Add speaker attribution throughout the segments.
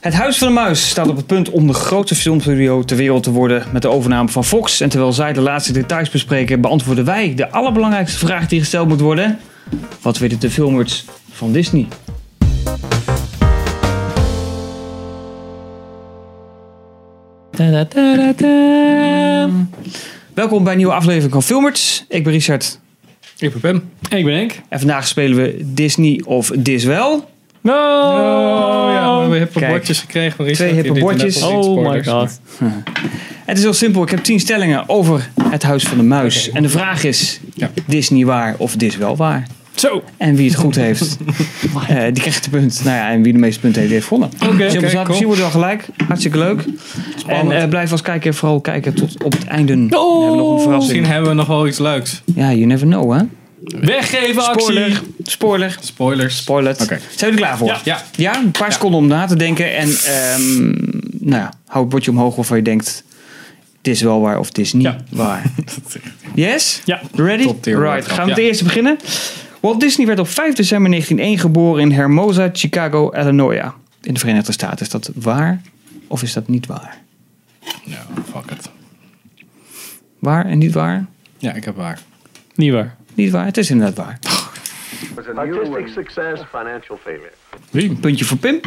Speaker 1: Het Huis van de Muis staat op het punt om de grootste filmstudio ter wereld te worden met de overname van Fox. En terwijl zij de laatste details bespreken, beantwoorden wij de allerbelangrijkste vraag die gesteld moet worden. Wat weten de filmers van Disney? Welkom bij een nieuwe aflevering van Filmers. Ik ben Richard
Speaker 2: Ik ben Pim.
Speaker 3: Ik ben Henk.
Speaker 1: en vandaag spelen we Disney of Diswel.
Speaker 3: No!
Speaker 2: Oh ja, we hebben hippe
Speaker 1: Kijk.
Speaker 2: bordjes gekregen van Richard.
Speaker 1: Twee hippe
Speaker 2: Die doet net
Speaker 1: bordjes.
Speaker 2: als iets
Speaker 3: Oh my
Speaker 2: spoilers.
Speaker 3: god.
Speaker 1: Het is heel simpel. Ik heb tien stellingen over het Huis van de Muis. En de vraag is:
Speaker 2: Ja.
Speaker 1: Disney waar of Diswel waar?
Speaker 3: Zo.
Speaker 1: En wie het goed heeft, eh, die krijgt de punt. Nou ja, en wie de meeste punten heeft, die heeft gewonnen.
Speaker 3: Oké.
Speaker 1: Simpel
Speaker 2: oké,
Speaker 1: zaak.
Speaker 2: cool.
Speaker 1: Misschien wordt het wel gelijk. Hartstikke leuk. En
Speaker 2: Spannend.
Speaker 1: eh, blijf als kijker vooral kijken tot op het einde. We hebben nog een
Speaker 2: Misschien
Speaker 1: verrassing.
Speaker 2: hebben we nog wel iets leuks.
Speaker 1: Ja, you never know, hè?
Speaker 3: Weggeven
Speaker 1: Spoiler. Spoiler.
Speaker 2: Spoilers.
Speaker 1: Spoiler.
Speaker 2: Oké.
Speaker 1: Zijn jullie er klaar voor?
Speaker 3: Ja.
Speaker 2: Ja,
Speaker 1: Ja, een paar seconden om na te denken. En ehm, nou ja, hou het bordje omhoog waarvan je denkt... Dit is wel waar of dit is niet
Speaker 3: Ja.
Speaker 1: waar. Yes?
Speaker 3: Ja.
Speaker 1: Ready?
Speaker 2: Top tier
Speaker 1: Right,
Speaker 2: woordgrap,
Speaker 1: gaan we met
Speaker 2: ja.
Speaker 1: de eerste beginnen. Walt Disney werd op 5 december 1901 geboren in Hermosa, Chicago, Illinois. In de Verenigde Staten. Is dat waar of is dat niet waar?
Speaker 2: ja, fuck it.
Speaker 1: Waar en niet waar?
Speaker 2: Ja, ik heb waar.
Speaker 3: Niet waar.
Speaker 1: Niet waar, het is inderdaad waar.
Speaker 4: was an artistic success, financial failure.
Speaker 1: Een puntje voor Pim.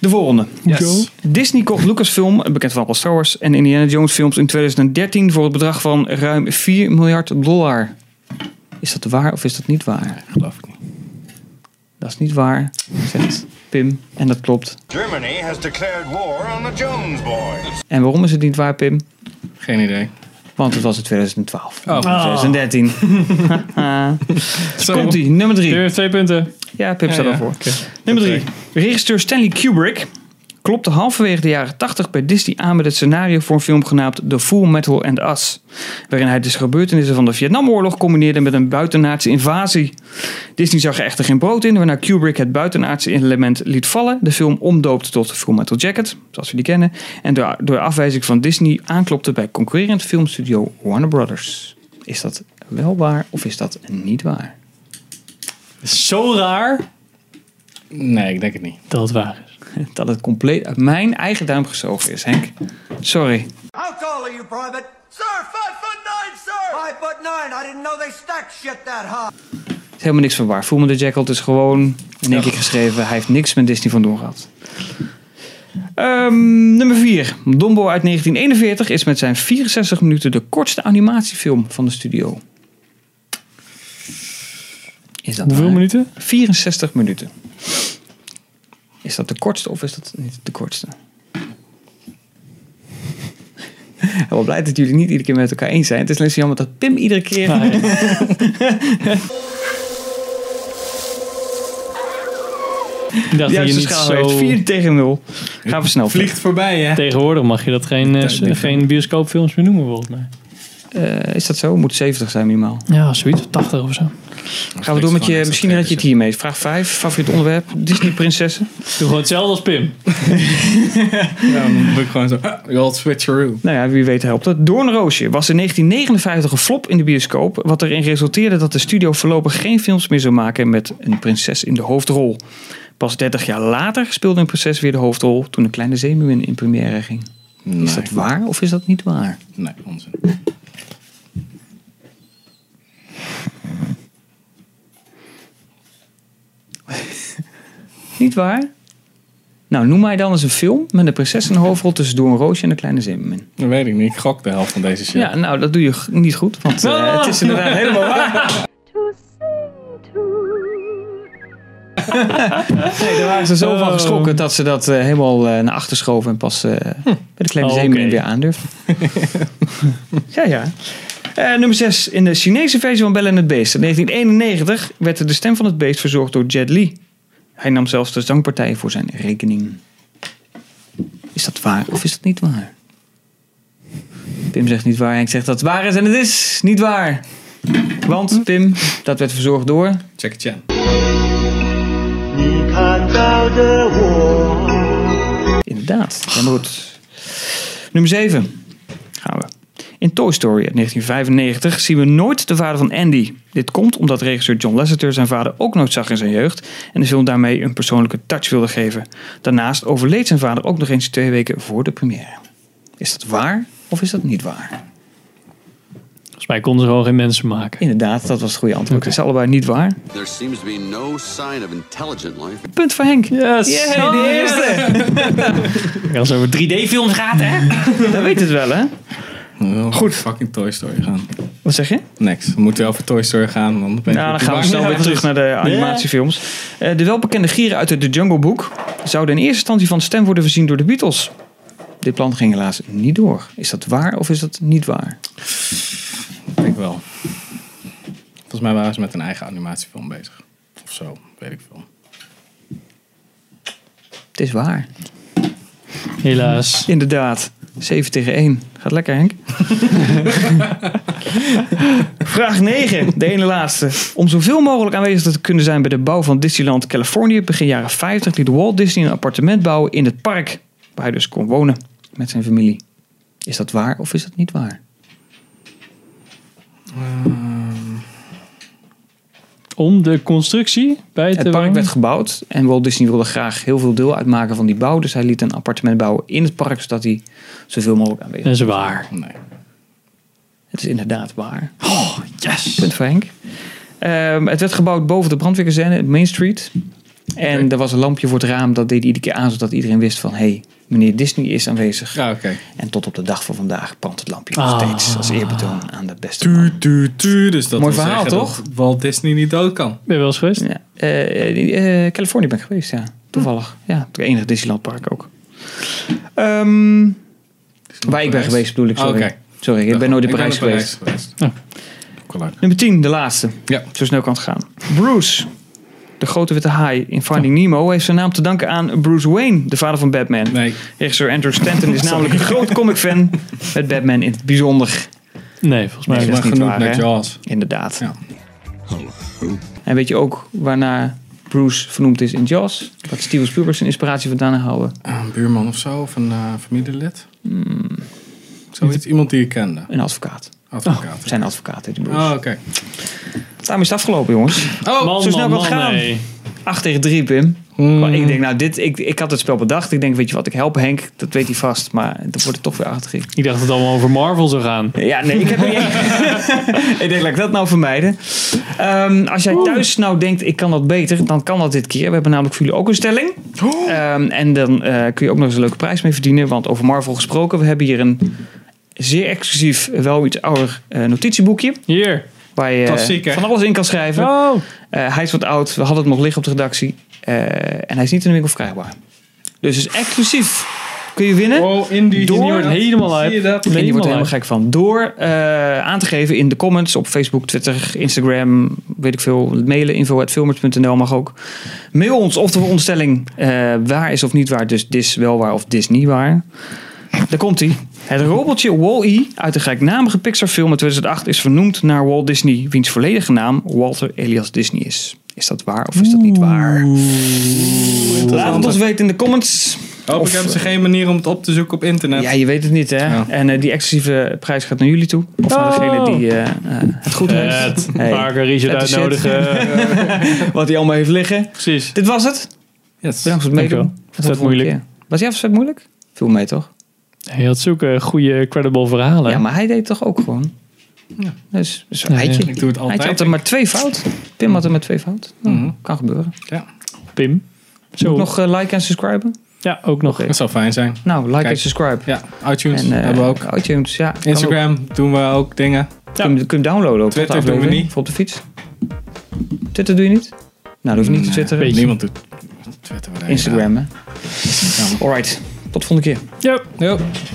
Speaker 1: De volgende.
Speaker 2: Yes.
Speaker 1: Disney kocht Lucasfilm, bekend van Apple Star Wars en Indiana Jones films in 2013 voor het bedrag van ruim 4 miljard dollar. Is dat waar of is dat niet waar?
Speaker 2: Geloof ik niet.
Speaker 1: Dat is niet waar, zegt Pim. En dat klopt.
Speaker 5: Germany has declared war on the Jones boys.
Speaker 1: En waarom is het niet waar, Pim?
Speaker 2: Geen idee.
Speaker 1: Want het was in 2012.
Speaker 2: Oh.
Speaker 1: In 2013.
Speaker 2: Zo.
Speaker 1: Komt ie, nummer 3.
Speaker 3: Weer twee punten.
Speaker 1: Ja, Pim staat
Speaker 2: Ja, ja.
Speaker 1: ervoor.
Speaker 2: Oké.
Speaker 1: Nummer 3.
Speaker 2: Oké.
Speaker 1: Regisseur Stanley Kubrick klopte halverwege de jaren 80 bij Disney aan met het scenario voor een film genaamd The Full Metal and Us. Waarin hij de gebeurtenissen van de Vietnamoorlog combineerde met een buitenaardse invasie. Disney zag er echter geen brood in, waarna Kubrick het buitenaardse element liet vallen. De film omdoopte tot The Full Metal Jacket, zoals we die kennen. En door, door afwijzing van Disney aanklopte bij concurrerend filmstudio Warner Brothers. Is dat wel waar of is dat niet waar?
Speaker 3: Zo raar
Speaker 2: Nee, ik denk het niet.
Speaker 3: dat het waar is.
Speaker 1: Dat het compleet uit mijn eigen duim gezogen is, Henk. Sorry.
Speaker 6: How tall are you, Private? Sir, five foot nine, sir! Five foot nine. I didn't know they stacked shit that high.
Speaker 1: Het is helemaal niks van waar. Voel me de Jackal is gewoon in één keer geschreven. Hij heeft niks met Disney van doen gehad. Ehm, nummer 4. Dombo uit 1941 is met zijn 64 minuten de kortste animatiefilm van de studio. Is dat
Speaker 3: Hoeveel
Speaker 1: waar?
Speaker 3: minuten?
Speaker 1: 64 minuten. Is dat de kortste of is dat niet de kortste? Ik ben wel blij dat jullie niet iedere keer met elkaar eens zijn. Het is alleen zo jammer dat Pim iedere keer...
Speaker 3: Ah, Ik dacht
Speaker 1: Ja,
Speaker 3: dat je
Speaker 1: de
Speaker 3: niet
Speaker 1: schaal
Speaker 3: zo...
Speaker 1: heeft 4 tegen 0. Gaan we snel
Speaker 2: Vliegt voorbij, hè?
Speaker 3: Tegenwoordig mag je dat geen, eh,
Speaker 2: denk ik.
Speaker 3: geen bioscoopfilms meer noemen volgens mij.
Speaker 1: Eh, is dat zo? Moet 70 zijn minimaal.
Speaker 3: Ja, zoiets. 80 of zo.
Speaker 1: Gaan we door met je,
Speaker 2: Gewoon
Speaker 1: misschien
Speaker 2: extra
Speaker 1: red je het hiermee. Vraag 5, favoriet onderwerp, Disney prinsessen.
Speaker 3: Doe gewoon hetzelfde als Pim.
Speaker 2: Ja, dan doe ik gewoon zo. ah, The old switcheroo.
Speaker 1: Nou ja, wie weet helpt het. Doornroosje was in 1959 een flop in de bioscoop, wat erin resulteerde dat de studio voorlopig geen films meer zou maken met een prinses in de hoofdrol. Pas 30 jaar later speelde een prinses weer de hoofdrol toen een kleine zeemeermin in première ging.
Speaker 2: Nee.
Speaker 1: Is dat waar of is dat niet waar?
Speaker 2: Nee, onzin.
Speaker 1: Niet waar? Nou, noem mij dan eens een film met een prinses in de hoofdrol tussen Doornroosje en de kleine zeemeermin.
Speaker 2: Dat weet ik niet. Ik gok de helft van deze shit.
Speaker 1: Ja, nou, dat doe je g- niet goed, want eh, het is inderdaad helemaal waar.
Speaker 7: to sing to.
Speaker 1: Nee, daar waren ze zo van geschrokken dat ze dat eh, helemaal eh, naar achter schoven en pas eh, bij de kleine
Speaker 3: Oh,
Speaker 1: zeemeermin
Speaker 3: oké.
Speaker 1: weer aandurft. ja, ja. Eh, nummer 6. In de Chinese versie van Belle en het Beest. In 1991 werd de stem van het beest verzorgd door Jet Li. Hij nam zelfs de zangpartij voor zijn rekening. Is dat waar of is dat niet waar? Pim zegt niet waar. Henk zegt dat het waar is en het is niet waar. Want, Pim, dat werd verzorgd door...
Speaker 2: Check it in.
Speaker 1: Inderdaad, helemaal goed. Nummer 7 gaan we. In Toy Story uit 1995 zien we nooit de vader van Andy. Dit komt omdat regisseur John Lasseter zijn vader ook nooit zag in zijn jeugd en de film daarmee een persoonlijke touch wilde geven. Daarnaast overleed zijn vader ook nog eens twee weken voor de première. Is dat waar of is dat niet waar?
Speaker 3: Volgens mij konden ze gewoon geen mensen maken.
Speaker 1: Inderdaad, dat was het goede antwoord. Het is allebei niet waar.
Speaker 8: There seems to be no sign of intelligent life.
Speaker 1: Punt voor Henk.
Speaker 3: Yes!
Speaker 1: Yay, de eerste.
Speaker 3: Als het over 3D-films gaat, hè?
Speaker 1: Dat weet het wel, hè?
Speaker 2: Goed. Fucking Toy Story gaan.
Speaker 1: Wat zeg je?
Speaker 2: Niks. We moeten wel voor Toy Story gaan. Want ben ik
Speaker 1: Nou, dan
Speaker 2: op de
Speaker 1: gaan we
Speaker 2: bank.
Speaker 1: snel weer terug naar de animatiefilms. Eh, de welbekende gieren uit de The Jungle Book zouden in eerste instantie van stem worden voorzien door de Beatles. Dit plan ging helaas niet door. Is dat waar of is dat niet waar?
Speaker 2: Ik denk wel. Volgens mij waren ze met een eigen animatiefilm bezig. Of zo. Weet ik veel.
Speaker 1: Het is waar.
Speaker 3: Helaas.
Speaker 1: Inderdaad. 7 tegen 1. Gaat lekker, Henk. Vraag 9, de ene laatste. Om zoveel mogelijk aanwezig te kunnen zijn bij de bouw van Disneyland Californië begin jaren 50 liet Walt Disney een appartement bouwen in het park, waar hij dus kon wonen met zijn familie. Is dat waar of is dat niet waar?
Speaker 3: Om de constructie bij te
Speaker 1: Het park
Speaker 3: wonen?
Speaker 1: werd gebouwd en Walt Disney wilde graag heel veel deel uitmaken van die bouw, dus hij liet een appartement bouwen in het park zodat hij zoveel mogelijk aanwezig
Speaker 3: Dat is waar.
Speaker 2: Nee.
Speaker 1: Het is inderdaad waar. Oh, yes! Punt voor Henk. Ehm, het werd gebouwd boven de brandweerkazerne, Main Street. En er was een lampje voor het raam, dat deed iedere keer aan, zodat iedereen wist van... hé, hey, meneer Disney is aanwezig.
Speaker 2: Ja, oké.
Speaker 1: En tot op de dag van vandaag brandt het lampje nog
Speaker 3: Ah.
Speaker 1: steeds als eerbetoon aan de beste man.
Speaker 2: Tu, tu, tu. Dus dat
Speaker 1: Mooi
Speaker 2: wil
Speaker 1: verhaal,
Speaker 2: zeggen
Speaker 1: toch?
Speaker 2: dat Walt Disney niet dood kan.
Speaker 3: Ben je wel eens geweest?
Speaker 1: Ja. Eh, eh, eh, Californië ben ik geweest, ja. Toevallig. Ja, het enige Disneylandpark ook. Ehm, waar ik ben
Speaker 2: Parijs?
Speaker 1: geweest, bedoel ik,
Speaker 2: Ah,
Speaker 1: sorry.
Speaker 2: oké.
Speaker 1: Sorry, ik ben nooit in
Speaker 2: Ik
Speaker 1: Parijs
Speaker 2: naar
Speaker 1: geweest.
Speaker 2: geweest.
Speaker 1: Oh.
Speaker 2: Ook wel leuk.
Speaker 1: Nummer 10, de laatste.
Speaker 2: Ja.
Speaker 1: zo snel kan het gaan. Bruce, de grote witte haai in Finding Nemo, heeft zijn naam te danken aan Bruce Wayne, de vader van Batman.
Speaker 2: Nee.
Speaker 1: Regisseur Andrew Stanton is namelijk een groot comic-fan met Batman in het bijzonder.
Speaker 3: Nee, volgens mij
Speaker 1: Nee,
Speaker 2: Maar
Speaker 1: dat is niet
Speaker 2: genoeg
Speaker 1: waar,
Speaker 2: naar
Speaker 1: hè?
Speaker 2: Jaws.
Speaker 1: Inderdaad.
Speaker 2: Ja.
Speaker 1: En weet je ook waarna Bruce vernoemd is in Jaws? Dat Steven Spielberg zijn inspiratie vandaan houden.
Speaker 2: Eh, Een buurman of zo, of een eh, familielid.
Speaker 1: Hmm.
Speaker 2: Zoiets, iemand die je kende.
Speaker 1: Een advocaat.
Speaker 2: Advocaat.
Speaker 1: Zijn advocaat heet Bruce.
Speaker 2: Oh, oké.
Speaker 1: Daarmee is het afgelopen, jongens.
Speaker 3: Oh, man,
Speaker 1: zo snel
Speaker 3: man,
Speaker 1: kan het
Speaker 3: man,
Speaker 1: gaan.
Speaker 3: nee.
Speaker 1: 8 tegen 3, Pim.
Speaker 2: Hmm.
Speaker 1: Maar ik denk, nou, dit, ik, ik had het spel bedacht. Ik denk, weet je wat, ik help Henk. Dat weet hij vast. Maar dan wordt het toch weer 8 tegen 3.
Speaker 3: Ik dacht dat het allemaal over Marvel zou gaan.
Speaker 1: Ja, nee, ik heb Ik denk, laat ik dat nou vermijden. Ehm, als jij thuis nou denkt, ik kan dat beter, dan kan dat dit keer. We hebben namelijk voor jullie ook een stelling. Ehm, en dan eh, kun je ook nog eens een leuke prijs mee verdienen. Want over Marvel gesproken, we hebben hier een zeer exclusief, wel iets ouder eh, notitieboekje.
Speaker 3: Hier.
Speaker 1: Waar je eh,
Speaker 2: Klassiek, hè?
Speaker 1: van alles in kan schrijven.
Speaker 3: Oh.
Speaker 1: Eh, hij is wat oud, we hadden het nog liggen op de redactie. Eh, en hij is niet in de winkel verkrijgbaar. Dus het is exclusief. Kun je winnen?
Speaker 2: Oh, Indie.
Speaker 1: Door-
Speaker 2: Die wordt helemaal uit. Zie je dat?
Speaker 1: En die wordt er
Speaker 3: Helemaal
Speaker 1: helemaal gek van. Door eh, aan te geven in de comments op Facebook, Twitter, Instagram, weet ik veel. Mailen info.filmers.nl mag ook. Mail ons of de onderstelling eh, waar is of niet waar. Dus dis wel waar of dis niet waar. Daar komt hij. Het robotje Wall-E uit de gelijknamige Pixar-film uit 2008 is vernoemd naar Walt Disney, wiens volledige naam Walter Elias Disney is. Is dat waar of is dat niet waar? Laat het ons weten in de comments.
Speaker 2: Hopelijk hebben ze geen manier om het op te zoeken op internet.
Speaker 1: eh, Ja, je weet het niet, hè?
Speaker 2: Ja.
Speaker 1: En eh, die exclusieve prijs gaat naar jullie toe. Of naar degene die eh, eh, het goed heeft.
Speaker 3: Het.
Speaker 1: Hey.
Speaker 3: Vaker Richard
Speaker 1: Vette shit.
Speaker 3: uitnodigen.
Speaker 1: Wat hij allemaal heeft liggen.
Speaker 3: Precies.
Speaker 1: Dit was het. Bedankt
Speaker 2: Yes.
Speaker 1: voor het
Speaker 3: Dankjewel.
Speaker 1: meedoen. Tot de
Speaker 3: Vet
Speaker 1: volgende
Speaker 3: moeilijk.
Speaker 1: keer. Was jij vet moeilijk? Viel mee, toch?
Speaker 3: Hij had zulke goede, credible verhalen.
Speaker 1: Ja, maar hij deed het toch ook gewoon? Dus, dus
Speaker 3: Ja,
Speaker 1: heitje.
Speaker 2: Ik doe het
Speaker 1: Heitje had
Speaker 2: altijd.
Speaker 1: er maar twee fout. Pim had er maar twee fout. Nou,
Speaker 2: Mhm.
Speaker 1: Kan gebeuren.
Speaker 3: Pim. Zo.
Speaker 1: Nog eh, like en subscriben?
Speaker 3: Ja, ook nog.
Speaker 2: Dat zou fijn zijn.
Speaker 1: Nou, like
Speaker 2: Kijk.
Speaker 1: en subscribe.
Speaker 2: Ja, iTunes
Speaker 1: En, eh,
Speaker 2: hebben we ook.
Speaker 1: iTunes, ja. kan ook.
Speaker 2: Instagram doen we ook dingen.
Speaker 1: Kun, je, kun je downloaden ook. tot de
Speaker 2: Twitter doen we
Speaker 1: aflevering,
Speaker 2: niet.
Speaker 1: Voor op de fiets. Twitter doe je niet? Nou, dat hoef je niet te twitteren.
Speaker 3: Beetje.
Speaker 2: Niemand doet Twitter. wat hij
Speaker 1: Instagram, hè?
Speaker 2: gedaan.
Speaker 1: Alright, tot de volgende keer.
Speaker 3: Yep.
Speaker 2: Ja. Jo.